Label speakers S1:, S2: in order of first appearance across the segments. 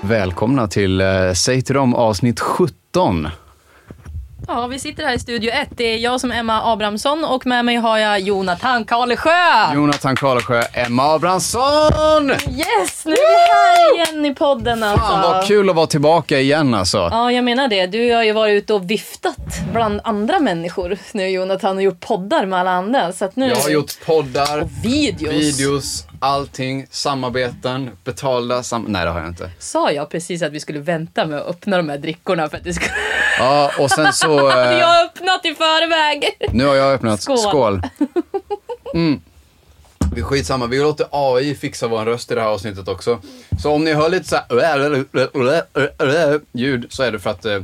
S1: Välkomna till eh, Säg till dem avsnitt 17.
S2: Ja, vi sitter här i Studio 1. Det är jag som är Emma Abrahamsson och med mig har jag Jonathan Karlsjö.
S1: Jonathan Karlsjö, Emma Abrahamsson!
S2: Yes, nu är vi här igen i podden alltså.
S1: Fan vad kul att vara tillbaka igen alltså.
S2: Ja, jag menar det. Du har ju varit ute och viftat bland andra människor nu Jonathan och gjort poddar med alla andra. Så att nu...
S1: Jag har gjort poddar,
S2: videos.
S1: videos, allting, samarbeten, betalda sam... Nej det har jag inte.
S2: Sa jag precis att vi skulle vänta med att öppna de här drickorna för att det skulle...
S1: Ja, och sen så... eh, Liksom.
S2: jag har öppnat i förväg.
S1: Nu har jag öppnat. Skål.
S2: Skål.
S1: Mm. Vi är skitsamma, vi låter AI fixa vår röst i det här avsnittet också. Så om ni hör lite så "Äh, här äh, ljud så är det för att eh,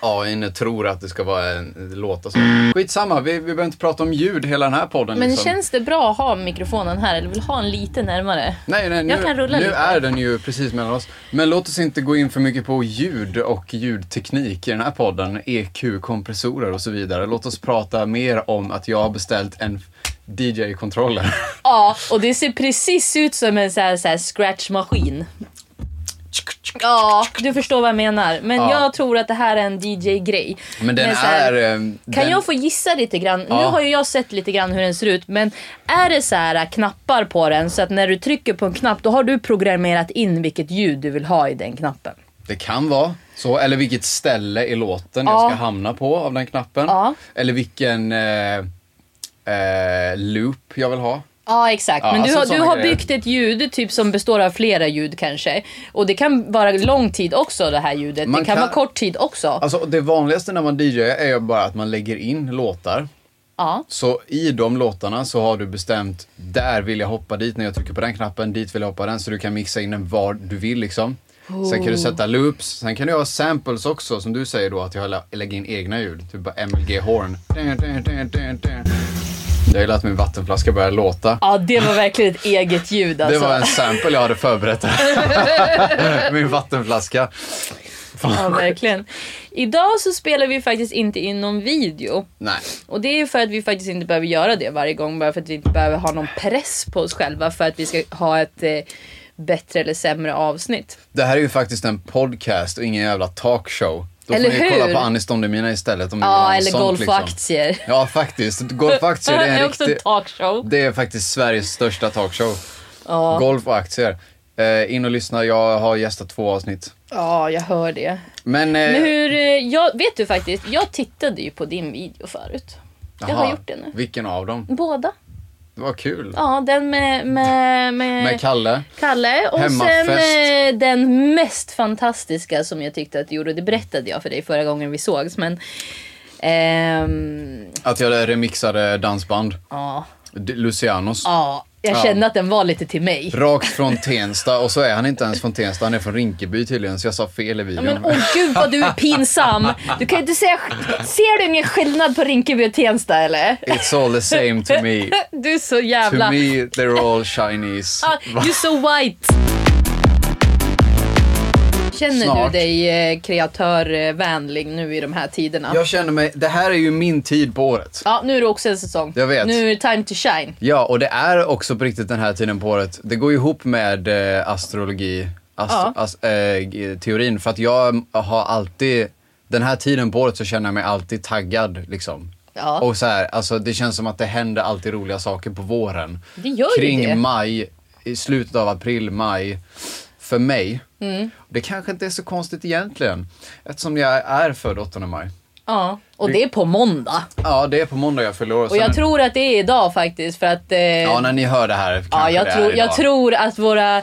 S1: AI tror att det ska vara en, låta så. Skitsamma, vi, vi behöver inte prata om ljud hela den här podden.
S2: Men
S1: liksom.
S2: känns det bra att ha mikrofonen här eller vill du ha en lite närmare?
S1: Nej, nej, nu,
S2: Jag kan rulla
S1: nu
S2: lite.
S1: är den ju precis mellan oss. Men låt oss inte gå in för mycket på ljud och ljudteknik i den här podden. EQ-kompressorer och så vidare. Låt oss prata mer om att jag har beställt en DJ-kontroller.
S2: Ja, och det ser precis ut som en så här, så här scratchmaskin. Ja, du förstår vad jag menar. Men
S1: Ja.
S2: jag tror att det här är en DJ-grej.
S1: Men den
S2: så här,
S1: är... eh,
S2: Kan
S1: den,
S2: jag få gissa lite grann? Nu
S1: Ja.
S2: har ju jag sett lite grann hur den ser ut, men är det så här knappar på den så att när du trycker på en knapp då har du programmerat in vilket ljud du vill ha i den knappen?
S1: Det kan vara så, eller vilket ställe i låten jag
S2: Ja.
S1: ska hamna på av den knappen.
S2: Ja.
S1: Eller vilken eh, eh, loop jag vill ha.
S2: Ja exakt,
S1: Ja,
S2: men
S1: alltså
S2: du, har, du
S1: såna
S2: har
S1: grejer.
S2: byggt ett ljud typ som består av flera ljud kanske. Och det kan vara lång tid också det här ljudet.
S1: Man
S2: det kan,
S1: kan-
S2: vara kort tid också.
S1: Alltså det vanligaste när man DJar är ju bara att man lägger in låtar.
S2: Ja.
S1: Så i de låtarna så har du bestämt, där vill jag hoppa dit när jag trycker på den knappen, dit vill jag hoppa den. Så du kan mixa in den var du vill liksom. Sen
S2: Oh.
S1: kan du sätta loops, sen kan du ha samples också som du säger då att jag lä- lägger in egna ljud. Typ bara MLG Horn. Jag gillar att min vattenflaska börjar låta.
S2: Ja, det var verkligen ett eget ljud
S1: Det
S2: alltså.
S1: var en sample jag hade förberett här. Min vattenflaska.
S2: Ja, verkligen. Idag så spelar vi faktiskt inte in någon video.
S1: Nej.
S2: Och det är för att vi faktiskt inte behöver göra det varje gång. Bara för att vi inte behöver ha någon press på oss själva för att vi ska ha ett eh, bättre eller sämre avsnitt.
S1: Det här är ju faktiskt en podcast och ingen jävla talkshow. Då
S2: Eller
S1: får ni
S2: hur?
S1: kolla på Anis Don Demina istället om ni vill
S2: Ja,
S1: ha något
S2: eller
S1: sånt,
S2: golf och
S1: liksom.
S2: aktier.
S1: Ja, faktiskt. Golf och aktier, det är en
S2: också
S1: riktig...
S2: en talkshow.
S1: Det är faktiskt Sveriges största talkshow.
S2: Ja.
S1: Golf och aktier. Eh, in och lyssna, jag har gästat två avsnitt.
S2: Ja, jag hör det.
S1: Men... Eh,
S2: Men hur, eh, jag, vet du faktiskt, jag tittade ju på din video förut. Jag har
S1: jaha,
S2: gjort det nu.
S1: Vilken av dem?
S2: Båda.
S1: Det var kul.
S2: Ja, eh. den med... med, med,
S1: Med Kalle.
S2: Kalle och
S1: Hemmafest.
S2: sen eh, den mest fantastiska som jag tyckte att du gjorde. Det berättade jag för dig förra gången vi sågs men... ehm,
S1: Att jag remixade dansband.
S2: Ja,
S1: D- Lucianos.
S2: ja. Jag
S1: Ja.
S2: kände att den var lite till mig.
S1: Rakt från Tensta och så är han inte ens från Tensta, han är från Rinkeby tydligen så jag sa fel i
S2: Ja,
S1: videon.
S2: Men åh gud vad du är pinsam. Du kan ju inte säga... Ser du ingen skillnad på Rinkeby och Tensta eller?
S1: It's all the same to me.
S2: Du är så
S1: To
S2: jävla...
S1: me they're all Chinese.
S2: Ah, you're so white. Känner
S1: Snart.
S2: du dig eh, kreatörvänlig nu i de här tiderna?
S1: Jag känner mig, det här är ju min tid på året.
S2: Ja, nu är det också en säsong.
S1: Jag vet.
S2: Nu är det time to shine.
S1: Ja, och det är också på riktigt den här tiden på året. Det går ihop med eh, astrologi, astro,
S2: Ja.
S1: as, eh, g- teorin. För att jag har alltid, den här tiden på året så känner jag mig alltid taggad liksom.
S2: Ja.
S1: Och så här, alltså det känns som att det händer alltid roliga saker på våren.
S2: Det gör ju
S1: Kring
S2: det.
S1: maj, i slutet av april, maj. För mig.
S2: Mm.
S1: Det kanske inte är så konstigt egentligen. Eftersom jag är född 8 maj.
S2: Ja. Och det är på måndag.
S1: Ja, det är på måndag jag fyller år.
S2: Och
S1: så
S2: jag
S1: den-
S2: tror att det är idag faktiskt för att... Eh,
S1: Ja, när ni hör det här
S2: ja,
S1: kanske det
S2: jag,
S1: är
S2: tror, jag
S1: idag.
S2: tror att våra...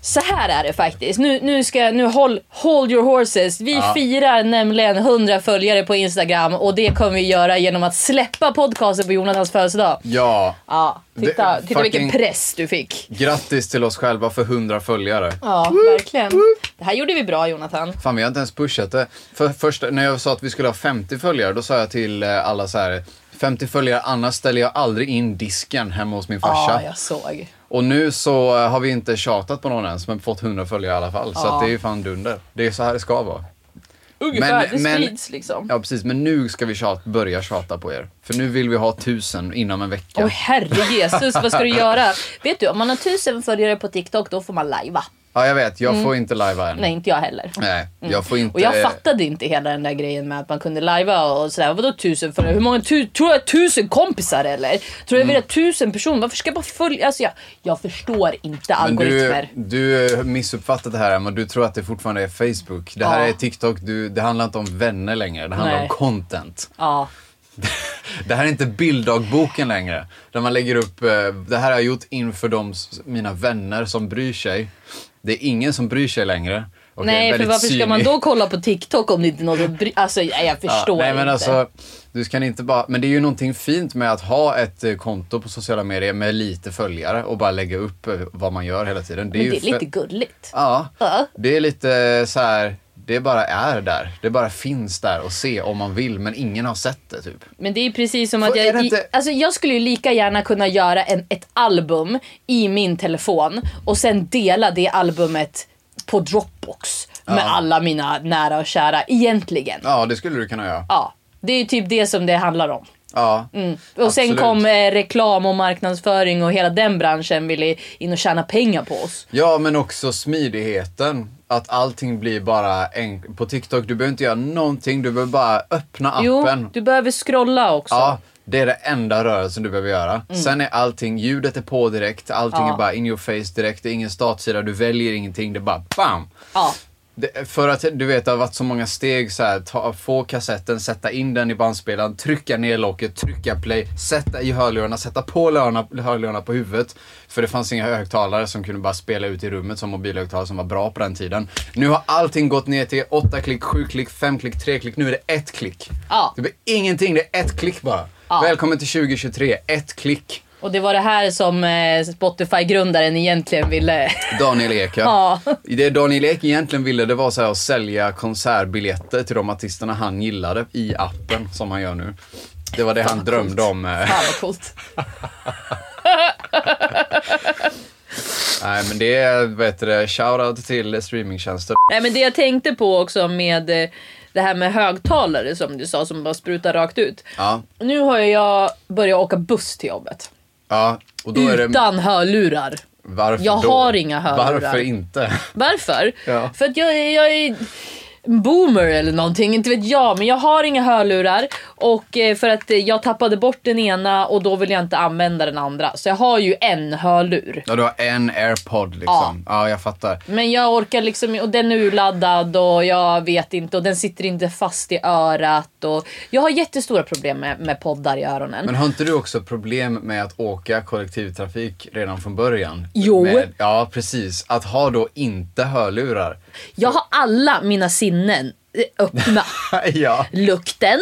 S2: Så här är det faktiskt. Nu, nu ska nu håll, hold your horses. Vi
S1: Ja.
S2: firar nämligen 100 följare på Instagram och det kommer vi göra genom att släppa podcasten på Jonathans födelsedag.
S1: Ja.
S2: Ja, titta,
S1: Det-
S2: titta vilken
S1: fucking-
S2: press du fick.
S1: Grattis till oss själva för 100 följare.
S2: Ja, verkligen. Det här gjorde vi bra Jonathan.
S1: Fan, vi har inte ens pushat det. För första, när jag sa att vi skulle ha 50 följare, då sa jag till eh, alla så här. 50 följare, annars ställer jag aldrig in disken hemma hos min farsa.
S2: Ah, Ja, jag såg.
S1: Och nu så eh, har vi inte tjatat på någon ens, men fått 100 följare i alla fall. Så
S2: Ja.
S1: att det är ju fan dunder. Det är så här det ska vara.
S2: Ungefär,
S1: Men-
S2: det
S1: men-
S2: sprids liksom.
S1: Ja, precis. Men nu ska vi tjat, börja tjata på er. För nu vill vi ha 1000 inom en vecka.
S2: Åh herre Jesus, vad ska du göra? Vet du, om man har tusen följare på TikTok då får man lajva.
S1: Ja, jag vet. Jag får inte livea än.
S2: Mm. Nej, inte jag heller.
S1: Nej, jag får inte... eh,
S2: Och jag fattade inte hela den där grejen med att man kunde lajva och sådär. Vadå tusen följare? Hur många tu- tror jag tusen kompisar eller? Tror
S1: Mm.
S2: jag vill ha tusen personer? Varför ska jag bara följa? Alltså jag, jag förstår inte
S1: Men du,
S2: algoritmer.
S1: du eh, missuppfattat det här, men du tror att det fortfarande är Facebook. Det här
S2: Ja.
S1: är TikTok. Du, det handlar inte om vänner längre. Det handlar
S2: Nej.
S1: om content.
S2: Ja.
S1: Det här är inte bilddagboken längre. Där man lägger upp, eh, det här har jag gjort inför de, s- mina vänner som bryr sig. Det är ingen som bryr sig längre. Och det är
S2: Nej, för
S1: väldigt
S2: varför ska man
S1: cyniskt.
S2: då kolla på TikTok om det inte är något att bry- Alltså jag, jag
S1: Ja,
S2: förstår
S1: nej, men
S2: inte.
S1: Alltså, du kan inte bara, men det är ju någonting fint med att ha ett eh, konto på sociala medier med lite följare och bara lägga upp eh, vad man gör hela tiden. Det är,
S2: men
S1: ju
S2: det är
S1: fe-
S2: lite gulligt.
S1: Ja,
S2: Ja.
S1: det är lite så här, det bara är där. Det bara finns där och se om man vill, men ingen har sett det typ.
S2: Men det är precis som att
S1: För är det
S2: jag, i,
S1: inte-
S2: alltså jag skulle ju lika gärna kunna göra en, ett album i min telefon och sen dela det albumet på Dropbox med
S1: Ja.
S2: alla mina nära och kära egentligen. Ja.
S1: Ja, det skulle du kunna göra.
S2: det är ju typ det som det handlar om.
S1: Ja,
S2: Mm. Och sen
S1: absolut.
S2: kom eh, reklam och marknadsföring och hela den branschen ville in och tjäna pengar på oss.
S1: Ja, men också smidigheten. Att allting blir bara enkelt. På TikTok, du behöver inte göra någonting. Du behöver bara öppna appen.
S2: Jo, du behöver scrolla också.
S1: Ja, det är det enda rörelsen du behöver göra. Sen är allting, ljudet är på direkt, allting
S2: Mm. Ja.
S1: är bara in your face direkt, det är ingen startsida, du väljer ingenting, det är bara BAM!
S2: Ja.
S1: Det, för att du vet, det har varit så många steg så här, ta, få kassetten, sätta in den i bandspelaren, trycka ner locket, trycka play, sätta i hörlurarna, sätta på lörarna, hörlurarna på huvudet. För det fanns inga högtalare som kunde bara spela ut i rummet som mobilhögtalare som var bra på den tiden. Nu har allting gått ner till 8 klick, 7 klick, 5 klick, 3 klick, nu är det ett klick.
S2: Ja.
S1: Det blir ingenting, det är ett klick bara.
S2: Ja.
S1: Välkommen till 2023, ett klick.
S2: Och det var det här som eh, Spotify-grundaren egentligen ville.
S1: Daniel Ek,
S2: Ja.
S1: ja. Det Daniel Ek egentligen ville det var så här att sälja konsertbiljetter till de artisterna han gillade i appen som han gör nu. Det var det han drömde om. eh.
S2: Fan vad coolt.
S1: Nej men det är bättre shoutout till streamingtjänster.
S2: Nej men det jag tänkte på också med eh, det här med högtalare som du sa som bara sprutar rakt ut.
S1: Ja,
S2: Nu har jag börjat åka buss till jobbet.
S1: ja. Och då är det,
S2: Utan hörlurar.
S1: varför
S2: Jag
S1: då?
S2: har inga hörlurar.
S1: Varför inte?
S2: Varför?
S1: Ja.
S2: För att jag, är- jag är en boomer eller någonting, inte vet jag. Men jag har inga hörlurar och eh, för att eh, jag tappade bort den ena och då vill jag inte använda den andra. Så jag har ju en hörlur.
S1: Ja, du har en airpod liksom. Ja, jag fattar.
S2: Men jag orkar liksom, och den är urladdad och jag vet inte och den sitter inte fast i örat och jag har jättestora problem med, med poddar i öronen.
S1: Men har inte du också problem med att åka kollektivtrafik redan från början?
S2: Jo.
S1: Med, ja, precis. Att ha då inte hörlurar.
S2: Jag har alla mina sinnen eh, öppna.
S1: ja.
S2: Lukten,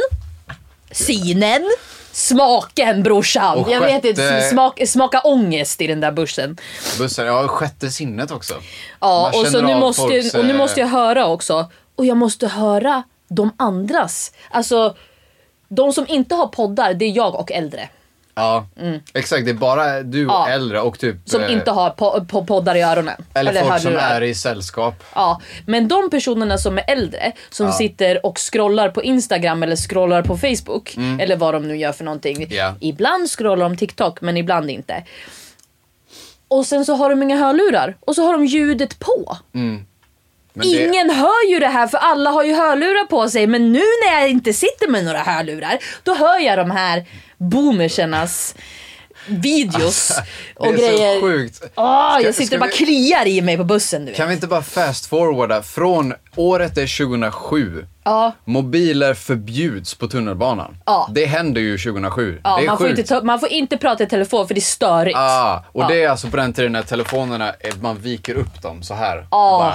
S2: synen, smaken brorsan.
S1: Och
S2: jag vet inte,
S1: sjätte-
S2: smak, smaka ångest i den där bussen.
S1: Bussen, ja sjätte sinnet också.
S2: Ja,
S1: Man
S2: och, så
S1: känner
S2: nu
S1: av
S2: måste,
S1: folks,
S2: och nu
S1: eh,
S2: måste jag höra också. Och jag måste höra de andras. Alltså, de som inte har poddar, det är jag och äldre.
S1: Ja, exakt. Det är bara du och
S2: Mm. Ja.
S1: äldre och typ...
S2: Som
S1: eh,
S2: inte har po- po- poddar i öronen.
S1: Eller, folk som
S2: hörlurar.
S1: är i sällskap.
S2: Ja, men de personerna som är äldre som sitter och scrollar på Instagram eller scrollar på Facebook eller vad de nu gör för någonting.
S1: Mm. Ja.
S2: Ibland scrollar de TikTok men ibland inte. Och sen så har de inga hörlurar och så har de ljudet på.
S1: Mm, Men det-
S2: Ingen hör ju det här för alla har ju hörlurar på sig men nu när jag inte sitter med några hörlurar då hör jag de här boomersernas videos
S1: Alltså, det
S2: och
S1: är
S2: grejer.
S1: så sjukt.
S2: Åh,
S1: Ska-
S2: Ah, jag
S1: ska
S2: sitter och bara
S1: vi-
S2: kliar i mig på bussen du vet.
S1: Kan vi inte bara fast forwarda från året är 2007.
S2: Ja.
S1: Mobiler förbjuds på tunnelbanan.
S2: Ja,
S1: Det händer ju 2007.
S2: Ja,
S1: det är
S2: man, får
S1: sjukt.
S2: inte ta, man får inte prata i telefon för det är störigt.
S1: Ah, och
S2: Ja.
S1: det är alltså på den tiden när telefonerna, eh, man viker upp dem så här.
S2: Ja.
S1: Och bara,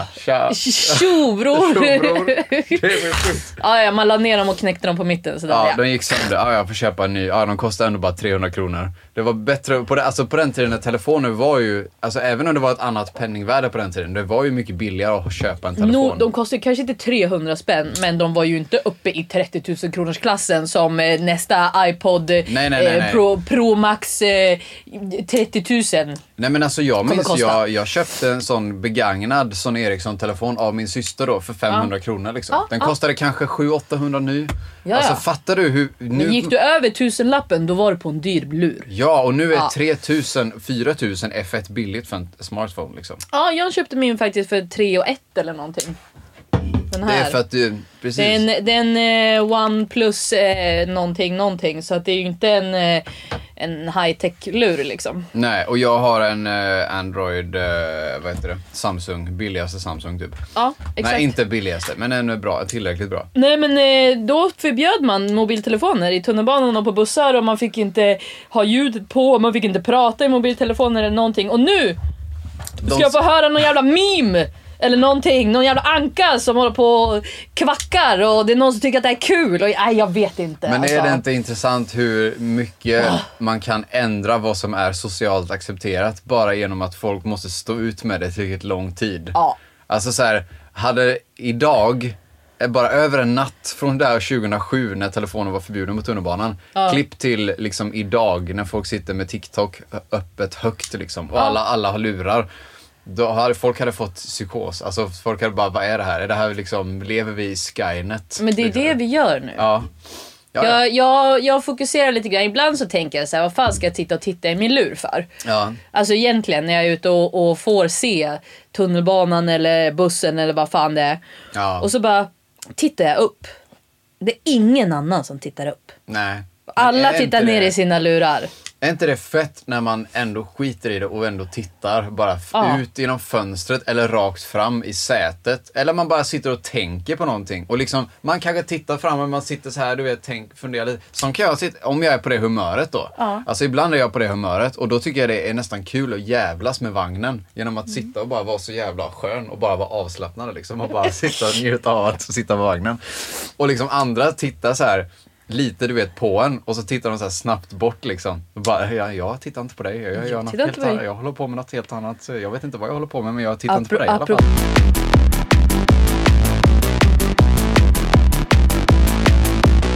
S1: tja.
S2: Tjo bror!
S1: Tjo, bror. Det är väl sjukt.
S2: Ah, ja, ja, man la ner dem och knäckte dem på mitten. Sådär,
S1: Ja,
S2: ja.
S1: de gick sönder. Ja, jag får köpa en ny. Ja, de kostar ändå bara 300 kronor. Det var bättre, på, det, alltså på den tiden när telefoner var ju, alltså även om det var ett annat penningvärde på den tiden, det var ju mycket billigare att köpa en telefon.
S2: No, de kostade kanske inte 300 spänn men de var ju inte uppe i 30 000 kronors klassen som eh, nästa iPod eh,
S1: nej, nej, nej.
S2: Pro, Pro Max eh, 30 000.
S1: Nej men alltså jag
S2: Kommer
S1: minns,
S2: kosta.
S1: jag, jag köpte en sån begagnad Sony Ericsson-telefon av min syster då för 500 kronor liksom.
S2: Ja,
S1: Den
S2: ja.
S1: kostade kanske 700-800 ny.
S2: Ja,
S1: alltså
S2: ja.
S1: fattar du hur... Nu,
S2: Men gick du över tusenlappen då var du på en dyr blur.
S1: Ja, och nu är
S2: Ja.
S1: 3000, 4000 är fett billigt för en smartphone liksom.
S2: Ja, jag köpte min faktiskt för 3 och 1 eller någonting. Den
S1: Det
S2: här.
S1: är för att du... Precis.
S2: Det är en, det är en eh, OnePlus eh, någonting någonting så att det är ju inte en, eh, en high-tech-lur liksom.
S1: Nej, och jag har en eh, Android, eh, vad heter det, Samsung, billigaste Samsung typ.
S2: Ja, exakt.
S1: Nej, inte billigaste, men en är bra, tillräckligt bra.
S2: Nej men eh, då förbjöd man mobiltelefoner i tunnelbanan och på bussar och man fick inte ha ljudet på och man fick inte prata i mobiltelefoner eller någonting. Och nu
S1: De-
S2: ska jag få höra någon jävla meme! Eller någonting, någon jävla anka som håller på och kvackar och det är någon som tycker att det är kul. Och, nej jag vet inte.
S1: Men är
S2: alltså.
S1: det inte intressant hur mycket man kan ändra vad som är socialt accepterat bara genom att folk måste stå ut med det tillräckligt lång tid?
S2: Ja.
S1: Alltså så här, hade idag, eh, bara över en natt från där 2007 när telefonen var förbjuden på tunnelbanan,
S2: Ja.
S1: klipp till liksom idag när folk sitter med TikTok ö- öppet högt liksom och
S2: Ja.
S1: alla, alla har lurar. Då hade, folk hade fått psykos. Alltså folk hade bara, vad är det här? Är det här liksom, lever vi i Skynet?
S2: Men det är
S1: Liksom.
S2: det vi gör nu.
S1: Ja. Ja, ja.
S2: Jag, jag, jag fokuserar lite grann. Ibland så tänker jag så här, vad fan ska jag titta och titta i min lur för?
S1: Ja.
S2: Alltså egentligen när jag är ute och, och får se tunnelbanan eller bussen eller vad fan det är.
S1: Ja.
S2: Och så bara tittar jag upp. Det är ingen annan som tittar upp.
S1: Nej.
S2: Alla
S1: Men är
S2: tittar
S1: inte
S2: ner
S1: det-
S2: i sina lurar.
S1: Är inte det fett när man ändå skiter i det och ändå tittar bara f-
S2: Ja.
S1: ut genom fönstret eller rakt fram i sätet? Eller man bara sitter och tänker på någonting. Och liksom, man kanske tittar fram och man sitter så här, du vet, tänk, funderar lite. Som kan jag sitta, om jag är på det humöret då.
S2: Ja.
S1: Alltså ibland är jag på det humöret och då tycker jag det är nästan kul att jävlas med vagnen. Genom att
S2: Mm.
S1: sitta och bara vara så jävla skön och bara vara avslappnad liksom. Och bara sitta och njuta av att sitta på vagnen. Och liksom andra tittar så här lite du vet på en och så tittar de så här snabbt bort liksom. Och bara, ja, jag tittar inte på dig, jag, jag, gör något
S2: Tittar
S1: helt
S2: inte på dig.
S1: annat. jag håller på med något helt annat. Jag vet inte vad jag håller på med men jag tittar inte på dig
S2: Apro-
S1: i alla
S2: apro-
S1: fall.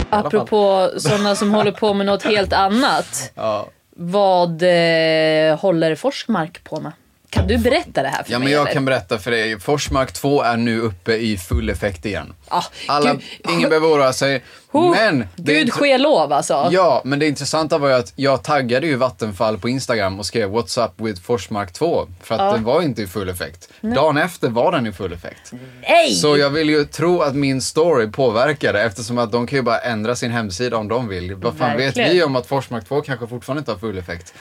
S1: alla fall.
S2: Apropå sådana som håller på med något helt annat.
S1: Ja.
S2: Vad eh, håller Forsmark på med? Kan du berätta det här för
S1: Ja
S2: mig?
S1: men jag
S2: eller?
S1: kan berätta för dig, Forsmark 2 är nu uppe i full effekt igen.
S2: Ah,
S1: Alla,
S2: Gud.
S1: ingen behöver oroa sig.
S2: Huh.
S1: Men! det är
S2: Gud
S1: inte-
S2: ske lov alltså.
S1: Ja, men det intressanta var ju att jag taggade ju Vattenfall på Instagram och skrev What's up with Forsmark 2 för att
S2: Ja.
S1: den var inte i full effekt. Dagen efter var den i full effekt.
S2: Nej!
S1: Så jag vill ju tro att min story påverkade eftersom att de kan ju bara ändra sin hemsida om de vill. Vad fan
S2: Verkligen.
S1: vet vi om att Forsmark 2 kanske fortfarande inte har full effekt?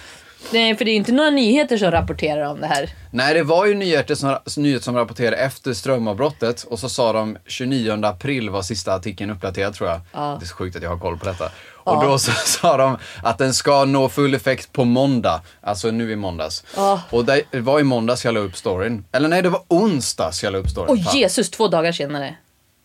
S2: Nej, för det är inte några nyheter som rapporterar om det här.
S1: Nej, det var ju nyheter som, nyhet som rapporterade efter strömavbrottet och så sa de 29 april var sista artikeln uppdaterad tror jag.
S2: Ja.
S1: Det är så sjukt att jag har koll på detta. Och då så sa de att den ska nå full effekt på måndag, alltså nu i måndags.
S2: Ja.
S1: Och det det var i måndags jag la upp storyn. Eller nej, det var onsdags jag la upp storyn.
S2: Och
S1: Fan.
S2: Jesus, två dagar senare.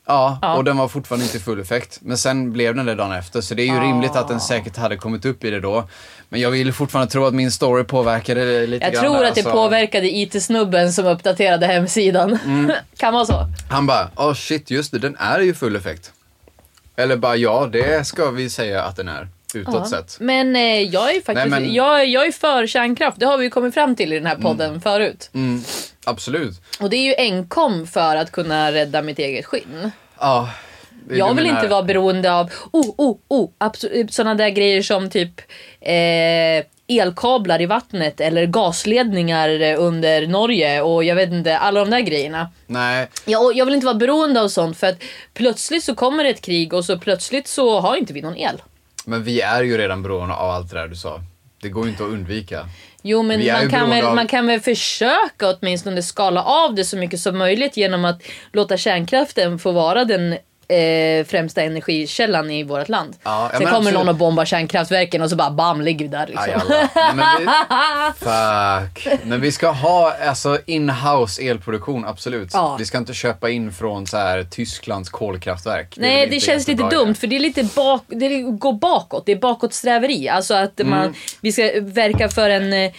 S1: Ja,
S2: Ja.
S1: och den var fortfarande inte i full effekt. Men sen blev den det dagen efter, så det är ju rimligt att den säkert hade kommit upp i det då. Men jag vill fortfarande tro att min story påverkade det lite
S2: Jag
S1: grann.
S2: tror
S1: där,
S2: att det
S1: alltså.
S2: påverkade IT-snubben som uppdaterade hemsidan.
S1: Mm.
S2: kan vara så.
S1: Han bara, åh shit, just det, den är ju full effekt. Eller bara, ja, det ska vi säga att den är, utåt
S2: Ja.
S1: sett.
S2: Men eh, jag är faktiskt
S1: Nej, men-
S2: Jag, är- jag är för kärnkraft. Det har vi ju kommit fram till i den här podden förut.
S1: Mm, absolut.
S2: Och det är ju enkom för att kunna rädda mitt eget skinn.
S1: Ja, det-
S2: Jag
S1: du
S2: vill
S1: menar-
S2: inte vara beroende av oh, oh, oh, absolut, sådana där grejer som typ eh, elkablar i vattnet eller gasledningar eh, under Norge och jag vet inte, alla de där grejerna.
S1: Nej,
S2: Jag, och jag vill inte vara beroende av sånt för att plötsligt så kommer det ett krig och så plötsligt så har inte vi någon el.
S1: men vi är ju redan beroende av allt det där du sa. Det går ju inte att undvika.
S2: Jo men
S1: Vi är
S2: man
S1: ju
S2: kan,
S1: beroende
S2: väl,
S1: av-
S2: man kan väl försöka åtminstone skala av det så mycket som möjligt genom att låta kärnkraften få vara den eh, främsta energikällan i vårt land.
S1: Ja, ja,
S2: Sen
S1: men
S2: kommer
S1: absolut.
S2: någon och bombar kärnkraftverken och så bara bam ligger vi där liksom.
S1: Aj, alla. Nej, men vi, fuck. Men vi ska ha alltså in-house elproduktion, absolut.
S2: Ja.
S1: Vi ska inte köpa in från så här, Tysklands kolkraftverk. är väl
S2: Nej, det
S1: inte
S2: känns lite
S1: jättebra
S2: dumt
S1: idé.
S2: för det är lite bak, det går bakåt. Det är bakåtsträveri. Alltså att man,
S1: Mm.
S2: vi ska verka för en eh,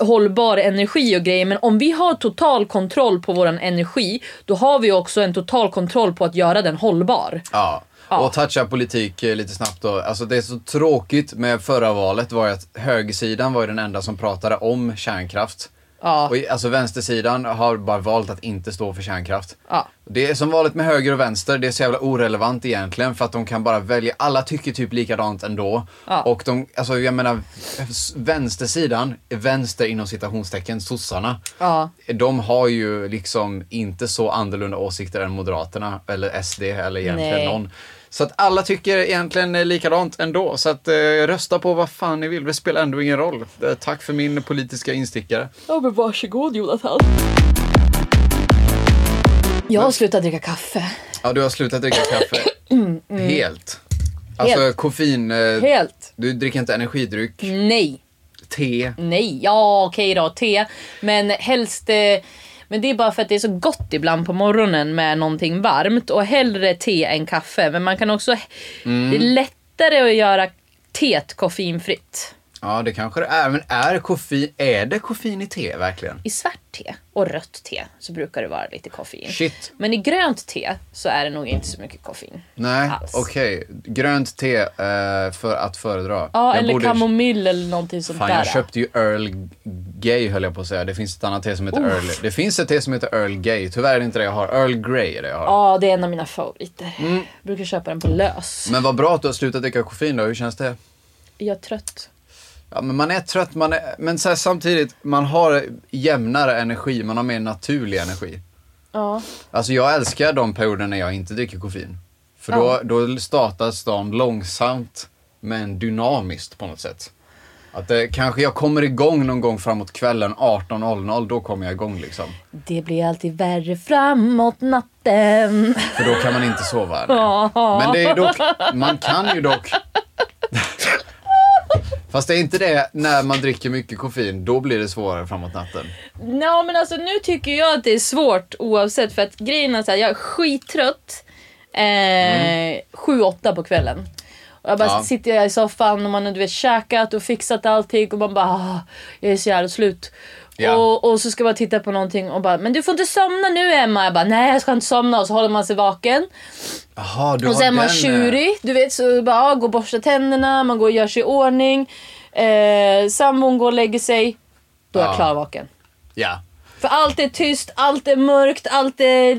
S2: hållbar energi och grejer. Men om vi har total kontroll på våran energi, då har vi också en total kontroll på att göra den hållbar.
S1: Ja.
S2: Ja.
S1: Och toucha politik eh, lite snabbt då. Alltså det är så tråkigt med förra valet var ju att högersidan var ju den enda som pratade om kärnkraft.
S2: Ja.
S1: Och i- alltså vänstersidan har bara valt att inte stå för kärnkraft.
S2: Ja.
S1: Det är som valet med höger och vänster, det är så jävla orelevant egentligen för att de kan bara välja, alla tycker typ likadant ändå.
S2: Ja.
S1: Och de, alltså jag menar, s- vänstersidan, vänster inom citationstecken, sossarna.
S2: Ja.
S1: De har ju liksom inte så annorlunda åsikter än Moderaterna eller SD eller egentligen
S2: Nej.
S1: någon. Så att alla tycker egentligen eh, likadant ändå. Så att eh, rösta på vad fan ni vill, det spelar ändå ingen roll. Eh, tack för min politiska instickare.
S2: Ja men varsågod Jonathan. Jag har slutat dricka kaffe.
S1: Ja, du har slutat dricka kaffe. Helt. Alltså
S2: Mm, Helt.
S1: koffein... Eh,
S2: Helt.
S1: Du dricker inte energidryck,
S2: Nej.
S1: te.
S2: Nej, ja okej då, te. Men helst... Eh, men det är bara för att det är så gott ibland på morgonen med någonting varmt. Och hellre te än kaffe. Men man kan också...
S1: Mm.
S2: Det är lättare att göra teet koffeinfritt.
S1: Ja, det kanske det är. Men är koffein... Är det koffein i te verkligen?
S2: I svart te och rött te så brukar det vara lite koffein.
S1: Shit.
S2: Men i grönt te så är det nog inte så mycket koffein.
S1: Nej,
S2: Alls.
S1: okej. Grönt te eh, för att föredra.
S2: Ja,
S1: Jag
S2: eller
S1: borde-
S2: kamomill eller någonting sånt
S1: Fan,
S2: där.
S1: jag köpte ju Earl Gay höll jag på att säga. Det finns ett annat te som heter Earl... Det finns ett te som heter Earl Gay. Tyvärr är det inte det jag har. Earl Grey är det jag har.
S2: Ja, det är en av mina favoriter.
S1: Mm.
S2: brukar köpa den på lös.
S1: Men vad bra att du har slutat dricka koffein då. Hur känns det?
S2: Jag är trött.
S1: Ja, men man är trött, man är, men så här, samtidigt, man har jämnare energi, man har mer naturlig energi.
S2: Ja.
S1: Alltså jag älskar de perioder när jag inte dricker koffein. För då,
S2: Ja.
S1: då startas de långsamt men dynamiskt på något sätt. Att det, kanske jag kommer igång någon gång framåt kvällen 18.00, då kommer jag igång liksom.
S2: Det blir alltid värre framåt natten.
S1: För då kan man inte sova. Men det är dock, man kan ju dock... Fast det är inte det när man dricker mycket koffein, då blir det svårare framåt natten.
S2: Nej men alltså nu tycker jag att det är svårt oavsett för att grejen är så här, jag är skittrött. Eh, 7-8 på kvällen. Och jag bara
S1: Ja.
S2: sitter jag i soffan och man har du vet, käkat och fixat allting och man bara ah, jag är så jävla slut.
S1: Ja.
S2: Och, och så ska man titta på någonting och bara men du får inte somna nu Emma. Jag bara nej jag ska inte somna och så håller man sig vaken.
S1: Jaha, du
S2: Och
S1: har
S2: sen är man
S1: den, eh,
S2: tjurig, du vet. Så bara, ja, går och borstar tänderna, man går och gör sig i ordning. Eh, sambon går och lägger sig. Då är jag
S1: Ja.
S2: klarvaken.
S1: Ja.
S2: För allt är tyst, allt är mörkt, allt är...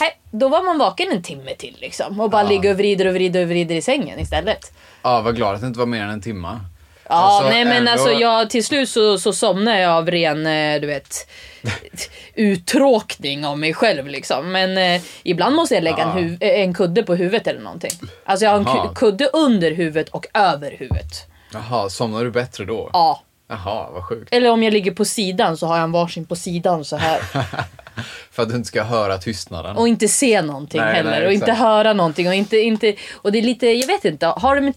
S2: Nej, då var man vaken en timme till liksom. Och bara
S1: Ja.
S2: ligger och vrider och vrider och vrider i sängen istället.
S1: Ja, vad glad att det inte var mer än en timme.
S2: Ja, nej men alltså jag, till slut så, så somnade jag av ren, eh, du vet, uttråkning av mig själv liksom. Men eh, ibland måste jag lägga
S1: Ja.
S2: en, huv- eh, en kudde på huvudet eller någonting. Alltså jag har en
S1: Jaha.
S2: ku- kudde under huvudet och över huvudet.
S1: Jaha, somnar du bättre då?
S2: Ja.
S1: Jaha, vad sjukt.
S2: Eller om jag ligger på sidan så har jag en varsin på sidan så här.
S1: För att du inte ska höra tystnaden.
S2: Och inte se någonting
S1: Nej,
S2: heller.
S1: nej,
S2: och inte
S1: exakt.
S2: höra någonting. Och, inte, inte, och det är lite, jag vet inte, har det med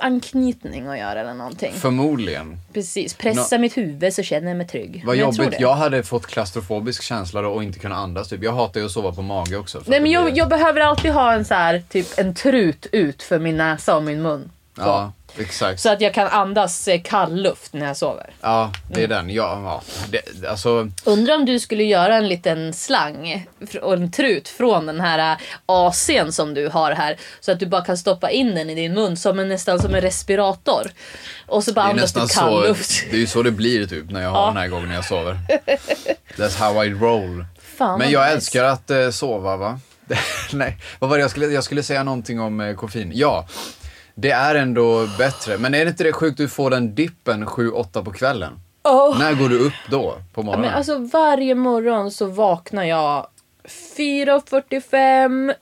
S2: trygghetsanknytning att göra eller någonting?
S1: Förmodligen.
S2: Precis, pressa mitt huvud så känner jag mig trygg.
S1: Vad
S2: Men jag tror
S1: jobbigt.
S2: det.
S1: Jag, hade fått klaustrofobisk känsla då och inte kunna andas. Typ. Jag hatar ju att sova på mage också. för
S2: Nej
S1: att
S2: men
S1: det
S2: jag,
S1: blir-
S2: jag behöver alltid ha en så här, typ en trut ut för min näsa och min mun. Så.
S1: Ja, exakt.
S2: Så att jag kan andas eh, kall luft när jag sover.
S1: Ja, det är den. Ja, ja. Det, alltså,
S2: Undrar om du skulle göra en liten slang fr- och en trut från den här eh, AC'n som du har här. Så att du bara kan stoppa in den i din mun som en, nästan som en respirator. Och så bara
S1: det är
S2: andas du
S1: nästan
S2: kall
S1: så.
S2: luft.
S1: Det är ju så det blir typ när jag har den här gången när jag sover. That's how I roll.
S2: Fan,
S1: Men
S2: vad
S1: jag
S2: nice.
S1: älskar att eh, sova va? Nej, vad var det jag skulle, jag skulle säga någonting om eh, koffein. Ja, det är ändå bättre. Men är det inte det sjukt du får den dippen 7-8 på kvällen?
S2: Åh.
S1: När går du upp då? På morgonen?
S2: Men alltså varje morgon så vaknar jag 4.45,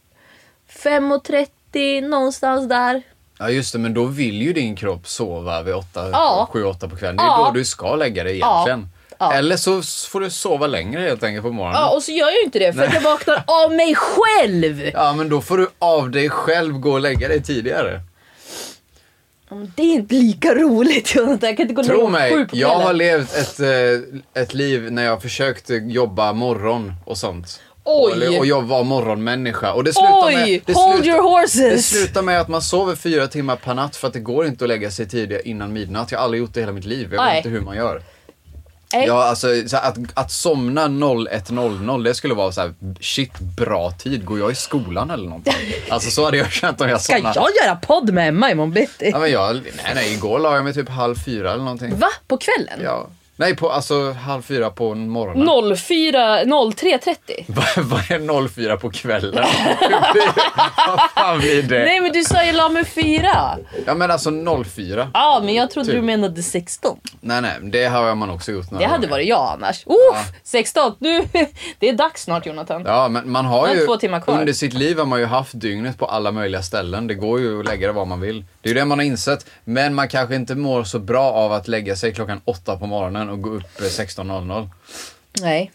S2: 5.30, någonstans där.
S1: Ja just det, men då vill ju din kropp sova vid 8,
S2: Ja.
S1: 7-8 på kvällen. Det är
S2: Ja.
S1: då du ska lägga dig egentligen.
S2: Ja. Ja.
S1: Eller så s- får du sova längre helt enkelt på morgonen.
S2: Ja, och så gör jag ju inte det för att jag vaknar av mig själv.
S1: Ja, men då får du av dig själv gå och lägga dig tidigare.
S2: Ja, men Det är inte lika roligt Jonathan. Jag kan inte gå och lägga
S1: Tro
S2: mig
S1: mig,
S2: sju på
S1: jag har
S2: kvällen.
S1: levt ett, eh, ett liv när jag försökte jobba morgon och sånt.
S2: Oj.
S1: Och, och jag var morgonmänniska. Och det slutar med,
S2: Oj!
S1: det
S2: hold
S1: slutar-
S2: your
S1: Det
S2: horses!
S1: slutar med att man sover fyra timmar per natt för att det går inte att lägga sig tidigare innan midnatt. Jag har aldrig gjort det hela mitt liv. Jag vet
S2: Nej.
S1: inte hur man gör.
S2: Nej.
S1: Ja, alltså, så att, att somna 01.00 det skulle vara så här, shit bra tid, går jag i skolan eller någonting? Alltså så hade jag känt om jag
S3: Ska
S1: somnade.
S3: jag göra podd med Emma imorgon bitti?
S1: Ja, men jag, nej, nej, igår la jag mig typ halv fyra eller någonting.
S2: Va? På kvällen?
S1: Ja. Nej, på, alltså halv fyra på morgonen.
S2: 04, 03.30?
S1: Vad- Vad är 04 på kvällen? Vad fan blir det?
S2: Nej men du sa ju la mig fyra.
S1: Ja men alltså 04.
S2: Ja men jag trodde
S1: Typ.
S2: du menade 16.
S1: Nej nej, det har man också gjort några
S2: Det hade
S1: gånger.
S2: varit jag annars. Uff, 16! Nu, det är dags snart Jonathan.
S1: Ja, men man har
S2: Jag har
S1: ju...
S2: två timmar kvar.
S1: Under sitt liv har man ju haft dygnet på alla möjliga ställen. Det går ju att lägga det var man vill. Det är ju det man har insett. Men man kanske inte mår så bra av att lägga sig klockan åtta på morgonen och gå upp eh, 16.00.
S2: Nej.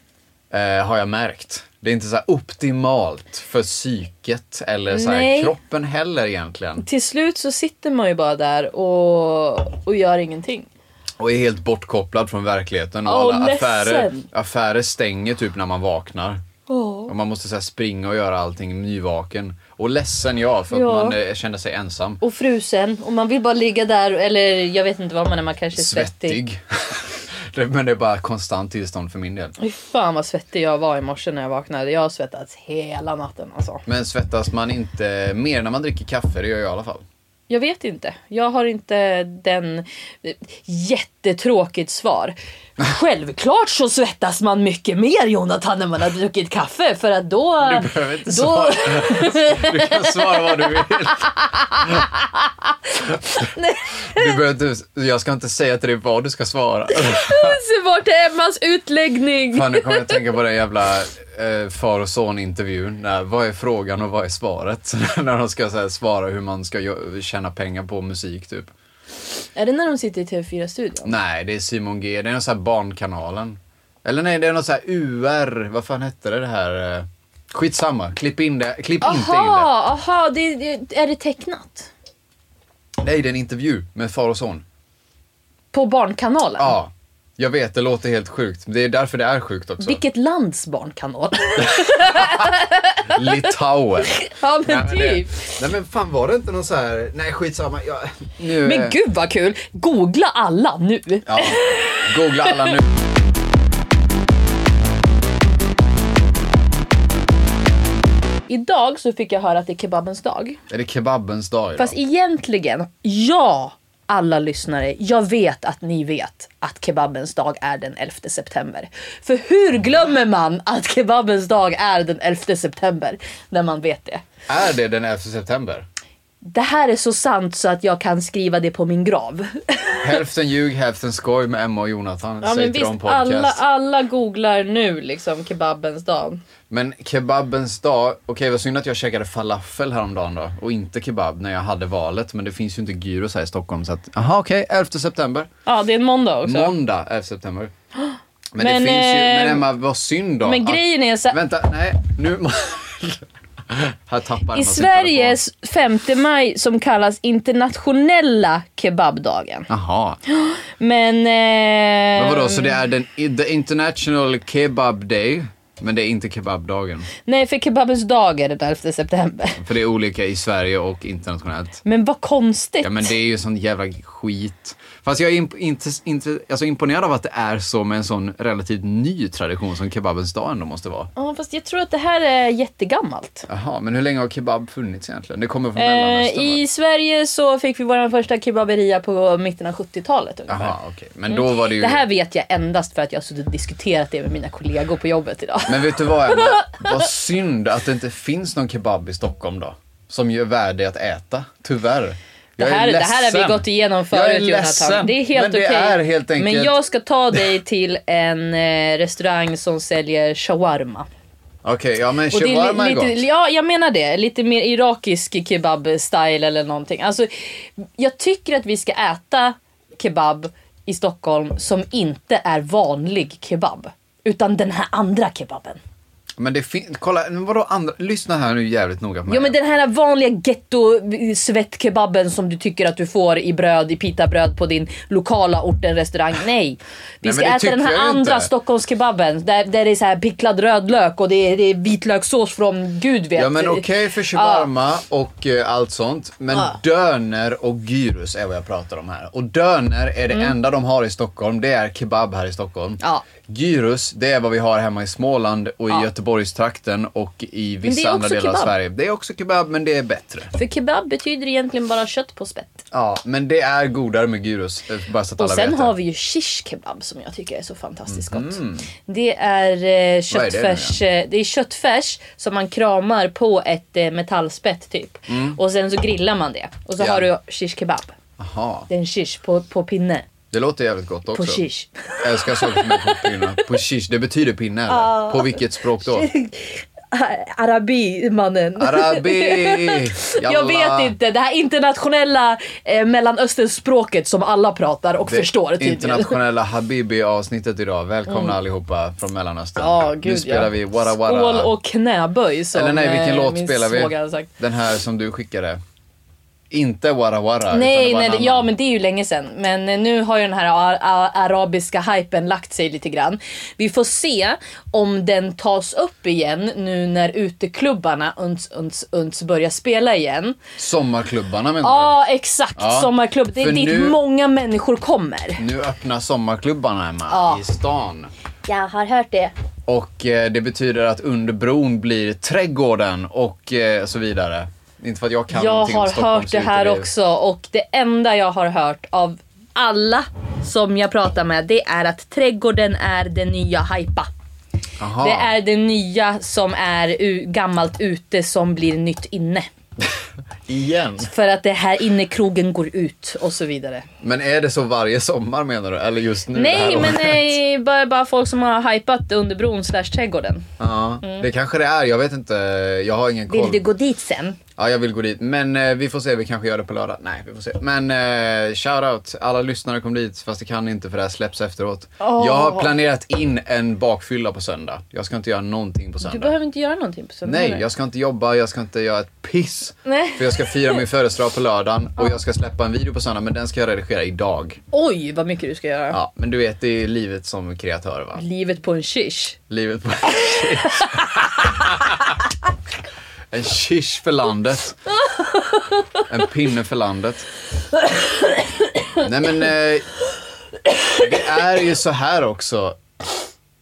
S1: Eh, har jag märkt. Det är inte så här optimalt för psyket eller så här
S2: Nej.
S1: kroppen heller egentligen.
S2: Till slut så sitter man ju bara där och, och gör ingenting.
S1: Och är helt bortkopplad från verkligheten. Och
S2: Åh,
S1: alla affärer,
S2: ledsen.
S1: affärer stänger typ när man vaknar.
S2: Åh.
S1: Och man måste så här springa och göra allting nyvaken. Och ledsen ja, för att
S2: Ja.
S1: man eh, känner sig ensam.
S2: Och frusen och man vill bara ligga där eller jag vet inte vad man är, man kanske är svettig.
S1: Svettig. Det- Men det är bara konstant tillstånd för min del.
S2: Fy fan vad svettig jag var i morse när jag vaknade. Jag har svettats hela natten alltså.
S1: Men svettas man inte mer när man dricker kaffe, det gör jag i alla fall.
S2: Jag vet inte. Jag har inte den... eh, Jättetråkigt svar. Självklart så svettas man mycket mer Jonathan när man har druckit kaffe för att då...
S1: Du behöver inte
S2: då...
S1: svara. Du kan svara vad du vill. Du behöver inte, jag ska inte säga till dig vad du ska svara.
S2: Se bort Emmas utläggning!
S1: Fan, nu kommer jag att tänka på den jävla eh, far och son-intervjun. När, vad är frågan och vad är svaret? när de ska så här, svara hur man ska gö- tjäna pengar på musik, typ.
S2: Är det när de sitter i TV4-studion?
S1: Nej, det är Simon G. Det är någon sån här Barnkanalen. Eller nej, det är någon sån här UR. Vad fan hette det, det här? eh? Skitsamma, klipp, in det. klipp inte in det.
S2: Aha, aha, det, det, är det tecknat?
S1: Nej, det är en intervju med far och son.
S2: På Barnkanalen?
S1: Ja, jag vet, det låter helt sjukt. Det är därför det är sjukt också.
S2: Vilket lands barnkanal?
S1: Litauen.
S2: ja men
S1: Nej, men det-
S2: typ.
S1: Nej men fan var det inte någon så här... Nej skitsamma. Jag, nu, eh,
S2: Men gud vad kul! Googla alla nu!
S1: Ja, googla alla nu.
S2: Idag så fick jag höra att det är kebabens dag.
S1: Är det kebabens dag idag?
S2: Fast egentligen, ja alla lyssnare, jag vet att ni vet att kebabens dag är den 11 september. För hur glömmer man att kebabens dag är den 11 september när man vet det?
S1: Är det den 11 september?
S2: Det här är så sant så att jag kan skriva det på min grav.
S1: Hälften ljug, hälften skoj med Emma och Jonathan.
S2: Ja,
S1: säger
S2: men
S1: till
S2: visst,
S1: dem podcast.
S2: alla, alla googlar nu liksom kebabens dag.
S1: Men kebabens dag, okej vad synd att jag käkade falafel häromdagen då och inte kebab när jag hade valet men det finns ju inte gyros här i Stockholm så att, aha okej, 11 september.
S2: Ja, det är en måndag också.
S1: Måndag 11 september. Men,
S2: Men,
S1: det finns ju, men
S2: eh,
S1: Emma vad synd då.
S2: men grejen är så-
S1: att, Vänta, nej nu... här tappar Emma
S2: I
S1: sin telefon.
S2: Sveriges 5 maj som kallas internationella kebabdagen.
S1: Jaha,
S2: Men... Eh,
S1: men vadå så det är den the international kebab day men det är inte kebabdagen.
S2: Nej, för kebabens dag är det den 11 september.
S1: För det är olika i Sverige och internationellt.
S2: Men vad konstigt.
S1: Ja men det är ju sån jävla skit. Fast jag är imp- inte, inte, alltså imponerad av att det är så med en sån relativt ny tradition som kebabens dag ändå måste vara.
S2: Ja, fast jag tror att det här är jättegammalt.
S1: Jaha, men hur länge har kebab funnits egentligen? Det kommer från
S2: Eh,
S1: Mellanöstern va?
S2: I Sverige så fick vi vår första kebaberia på mitten av 70-talet ungefär.
S1: Jaha, okej. Men då var det ju...
S2: Mm. Det här vet jag endast för att jag har suttit och diskuterat det med mina kollegor på jobbet idag.
S1: Men vet du vad Emma? Vad synd att det inte finns någon kebab i Stockholm då. Som ju är värdig att äta, tyvärr.
S2: Det
S1: Jag är
S2: här, det här har vi
S1: ledsen.
S2: gått igenom förut
S1: Jag är
S2: Jonathan.
S1: ledsen,
S2: Det är helt
S1: men det
S2: okej.
S1: är helt enkelt-
S2: Men jag ska ta dig till en eh, restaurang som säljer shawarma.
S1: Okej, ja men
S2: Och det är
S1: shawarma är
S2: li-
S1: gott.
S2: lite, ja, jag menar det. Lite mer irakisk kebab-style eller någonting. Alltså, jag tycker att vi ska äta kebab i Stockholm som inte är vanlig kebab. Utan den här andra kebaben.
S1: Men det finns, kolla, men vadå andra, lyssna här nu jävligt noga på mig.
S2: Ja men den här vanliga ghetto svettkebaben som du tycker att du får i bröd, i pitabröd på din lokala orten restaurang. Nej! Vi
S1: Nej,
S2: ska
S1: men det
S2: äta den
S1: tycker
S2: här
S1: jag
S2: andra
S1: inte.
S2: Stockholmskebaben där, där det är så här picklad rödlök och det är, det är vitlökssås från gud vet.
S1: Ja men okej för shawarma och eh, allt sånt. Men
S2: Ja.
S1: döner och gyros är vad jag pratar om här. Och döner är det enda de har i Stockholm. Det är kebab här i Stockholm.
S2: Mm. Ja.
S1: Gyros, det är vad vi har hemma i Småland och i
S2: Ja.
S1: Göteborgstrakten och i
S2: det är
S1: vissa andra
S2: också
S1: delar av
S2: kebab.
S1: Sverige. Det är också kebab men det är bättre.
S2: För kebab betyder egentligen bara kött på spett.
S1: Ja, men det är godare med gyros. eh, Bara så att
S2: Och
S1: alla
S2: sen
S1: vet
S2: har
S1: det. Mhm.
S2: vi ju shish kebab som jag tycker är så fantastiskt gott. Det är eh,
S1: Vad är det nu
S2: köttfärs, eh, det är köttfärs som man kramar på ett eh, metallspett typ. Och sen så grillar man det. Och så
S1: Mm. Ja.
S2: har du shish kebab.
S1: Aha.
S2: Det är en shish på, på pinne.
S1: Det låter jävligt gott också.
S2: På shish.
S1: Jag älskar saker som är på pinnar. På shish, det betyder pinne eller? På vilket språk då?
S2: Arabi mannen.
S1: Arabi!
S2: Jag vet inte, det här internationella eh, mellanösternspråket som alla pratar och
S1: Det
S2: förstår typ. tydligen. Mm.
S1: internationella Habibi-avsnittet idag. Välkomna allihopa från Mellanöstern.
S2: Ja, gud
S1: nu spelar
S2: ja.
S1: vi Wara Wara.
S2: Skål och knäböj som
S1: Eller nej, vilken
S2: eh,
S1: låt
S2: min
S1: spelar
S2: svåger
S1: vi?
S2: hade sagt.
S1: Den här som du skickade. Inte Wara Wara.
S2: Nej,
S1: utan det var
S2: nej
S1: en
S2: det-
S1: annan.
S2: ja men det är ju länge sedan. Men eh, nu har ju den här a- a- arabiska hypen lagt sig lite grann. Vi får se om den tas upp igen nu när uteklubbarna uns, uns, uns börjar spela igen.
S1: Sommarklubbarna menar
S2: Ja exakt,
S1: Ja.
S2: sommarklubb. Det är
S1: För
S2: dit
S1: nu-
S2: många människor kommer.
S1: du? Nu öppnar sommarklubbarna Emma,
S2: Ja.
S1: i stan.
S2: Jag har hört det.
S1: Och eh, det betyder att under bron blir trädgården och eh, så vidare. Inte för att jag kan
S2: Jag
S1: någonting om
S2: har
S1: Stockholms
S2: hört det här
S1: uteliv.
S2: också och det enda jag har hört av alla som jag pratar med det är att trädgården är den nya hypa.
S1: Aha.
S2: Det är det nya som är u- gammalt ute som blir nytt inne.
S1: Igen.
S2: För att det här innekrogen går ut och så vidare.
S1: Men är det så varje sommar menar du? Eller just nu? det här
S2: Nej men
S1: året?
S2: nej, bara, bara folk som har hypat under bron slash trädgården.
S1: Ja,
S2: Mm.
S1: det kanske det är. Jag vet inte. Jag har ingen koll.
S2: Vill du gå dit sen?
S1: Ja, jag vill gå dit. Men eh, vi får se. Vi kanske gör det på lördag. Nej, vi får se. Men eh, shoutout. Alla lyssnare kom dit, fast det kan inte för det här släpps efteråt. Jag har planerat in en bakfylla på söndag. Jag ska inte göra någonting på
S2: Du
S1: söndag.
S2: behöver inte göra någonting på söndag.
S1: Nej,
S2: heller.
S1: jag ska inte jobba, jag ska inte göra ett piss.
S2: Nej.
S1: För jag ska fira min födelsedag på lördagen och jag ska släppa en video på söndag, men den ska jag redigera idag.
S2: Oj vad mycket du ska göra.
S1: Ja, men du vet, det är livet som kreatör va?
S2: Livet på en shish.
S1: Livet på En shish för landet. En pinne för landet. Nej men, eh, det är ju så här också.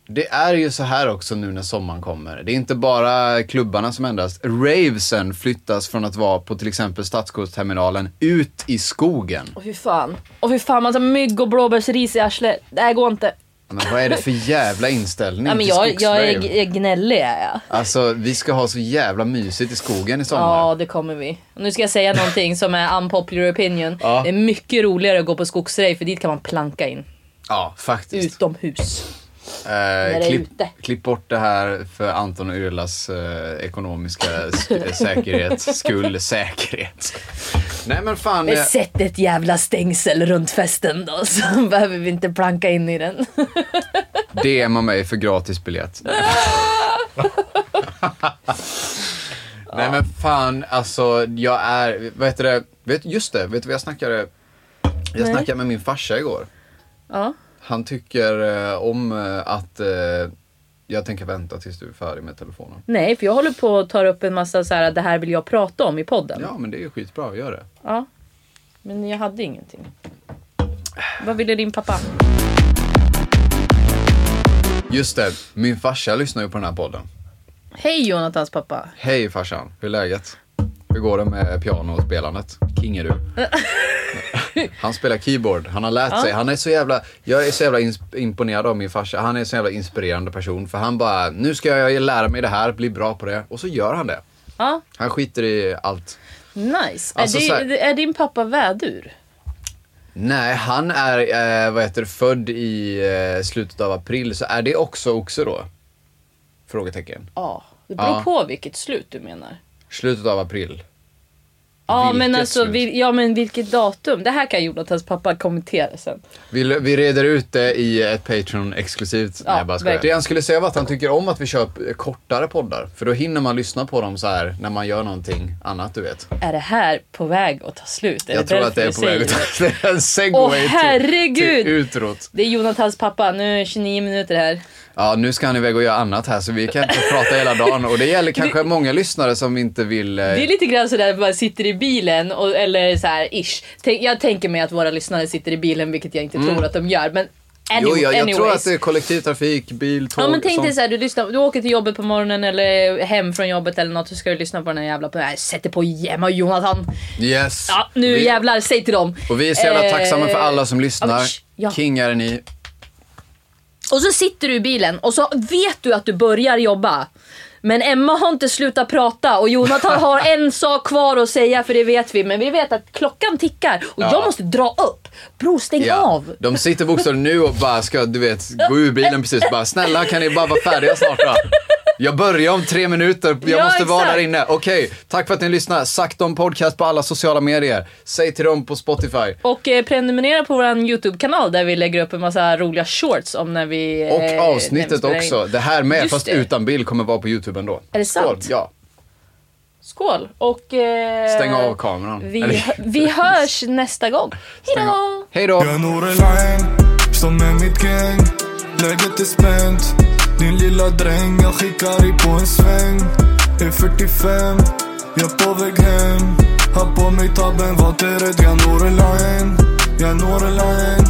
S1: Det är ju så här också nu när sommaren kommer. Det är inte bara klubbarna som ändras. Ravesen flyttas från att vara på till exempel Stadskustterminalen ut i skogen.
S2: Och fy fan. Och fy fan massa mygg och blåbärsris i arslet. Det här går inte.
S1: Men vad är det för jävla inställning
S2: Nej, men
S1: till
S2: jag, jag är,
S1: skogsrave?
S2: jag är gnällig är jag.
S1: Alltså, vi ska ha så jävla mysigt i skogen i sommar.
S2: Ja, det kommer vi. Och Nu ska jag säga någonting som är unpopular opinion.
S1: Ja.
S2: Det är mycket roligare att gå på skogsrave för dit kan man planka in.
S1: Ja, faktiskt.
S2: Utomhus.
S1: Eh,
S2: det är
S1: klipp,
S2: ute.
S1: klipp bort det här för Anton och Yrlas eh, ekonomiska eh, sk- säkerhet, skull, säkerhet. Nej men fan.
S2: Men
S1: eh,
S2: sätt ett jävla stängsel runt festen då så behöver vi inte planka in i den.
S1: DMa mig för gratis biljett. Nej men fan, alltså jag är, vad heter det, vet, just det, vet du vad jag snackade, jag
S2: Nej.
S1: snackade med min farsa igår.
S2: Ja.
S1: Han tycker eh, om eh, att, eh, jag tänker vänta tills du är färdig med telefonen.
S2: Nej, för jag håller på att ta upp en massa så här det här vill jag prata om i podden.
S1: Ja men det är ju skitbra, gör det.
S2: Ja. Men jag hade ingenting. Vad ville din pappa?
S1: Just det, min farsa lyssnar ju på den här podden.
S2: Hej Jonathans pappa.
S1: Hej farsan, hur är läget? Hur går det med pianospelandet? King är du. Han spelar keyboard, han har lärt sig. Han är så jävla, jag är så jävla ins- imponerad av min farsa. Han är en så jävla inspirerande person. För han bara, nu ska jag lära mig det här, bli bra på det. Och så gör han det.
S2: Ja,
S1: Han skiter i allt.
S2: nice.
S1: Alltså,
S2: är,
S1: så
S2: din,
S1: här-
S2: är din pappa vädur?
S1: Nej, han är, eh, vad heter det, född i eh, slutet av april. Så är det också oxe då? Frågetecken.
S2: Ja. Det beror
S1: Ja.
S2: på vilket slut du menar.
S1: Slutet av april.
S2: Ja
S1: Vilket
S2: men, alltså,
S1: slut.
S2: vi, ja men vilket datum? Det här kan Jonathans pappa kommentera sen.
S1: Vi, vi reder ut det i ett Patreon-exklusivt.
S2: Ja,
S1: Nej, jag bara skojar.
S2: verkligen.
S1: det han skulle säga var att han tycker om att vi kör eh, kortare poddar. För då hinner man lyssna på dem så här när man gör någonting annat, du vet.
S2: Är det här på väg att ta slut? Är
S1: jag tror att det är
S2: därför
S1: på väg
S2: jag
S1: ut.
S2: säger
S1: Det är en segway
S2: Åh,
S1: till,
S2: herregud!
S1: till utrot.
S2: Det är Jonathans pappa, nu är det 29 minuter här.
S1: Ja, nu ska han iväg och göra annat här så vi kan inte prata hela dagen. Och det gäller kanske många lyssnare som inte vill... eh,
S2: Det är lite grann sådär, man sitter i bilen och, eller så här, ish. Tänk, jag tänker mig att våra lyssnare sitter i bilen, vilket jag inte tror att de gör. Men any,
S1: Mm. jo, jag, jag
S2: anyways.
S1: tror att det är kollektivtrafik, bil, tåg.
S2: Ja men tänk dig
S1: sånt.
S2: såhär, du, lyssnar, du åker till jobbet på morgonen eller hem från jobbet eller något, så ska du lyssna på den här jävla... Nej, sätter på Gemma och Jonathan.
S1: Yes.
S2: Ja, nu
S1: vi,
S2: jävlar, säg till dem.
S1: Och vi är så jävla
S2: Eh,
S1: tacksamma för alla som
S2: ja,
S1: lyssnar.
S2: men sh- ja.
S1: Kingar är ni.
S2: Och så sitter du i bilen och så vet du att du börjar jobba. Men Emma har inte slutat prata och Jonathan har en sak kvar att säga för det vet vi. Men vi vet att klockan tickar och
S1: Ja.
S2: jag måste dra upp. Bror stäng av!
S1: De sitter bokstavligen nu och bara ska, du vet, gå ur bilen precis. Bara, snälla kan ni bara vara färdiga snart då? Jag börjar om tre minuter, jag
S2: Ja,
S1: måste vara
S2: exakt.
S1: där inne. Okej, tack för att ni lyssnar. Sagt om podcast på alla sociala medier. Säg till dem på Spotify.
S2: Och eh, prenumerera på vår YouTube-kanal där vi lägger upp en massa roliga shorts om när vi...
S1: Och
S2: eh, när vi
S1: avsnittet
S2: spelar in.
S1: också. Det här med,
S2: Just
S1: fast
S2: det.
S1: utan bild, kommer vara på YouTube ändå.
S2: Är det sant?
S1: Skål. Ja.
S2: Skål! Och... Eh,
S1: Stäng av kameran.
S2: Vi,
S1: Eller-
S2: vi hörs nästa gång.
S1: Stäng
S2: Hejdå!
S1: av. Hej då!
S4: Jag når en line, står med mitt gäng Läget är spänt, din lilla dräng Jag skickar dig på en sväng Är 45, jag är på väg hem Har på mig tabben, vart är rädd? Jag når en line, jag når en line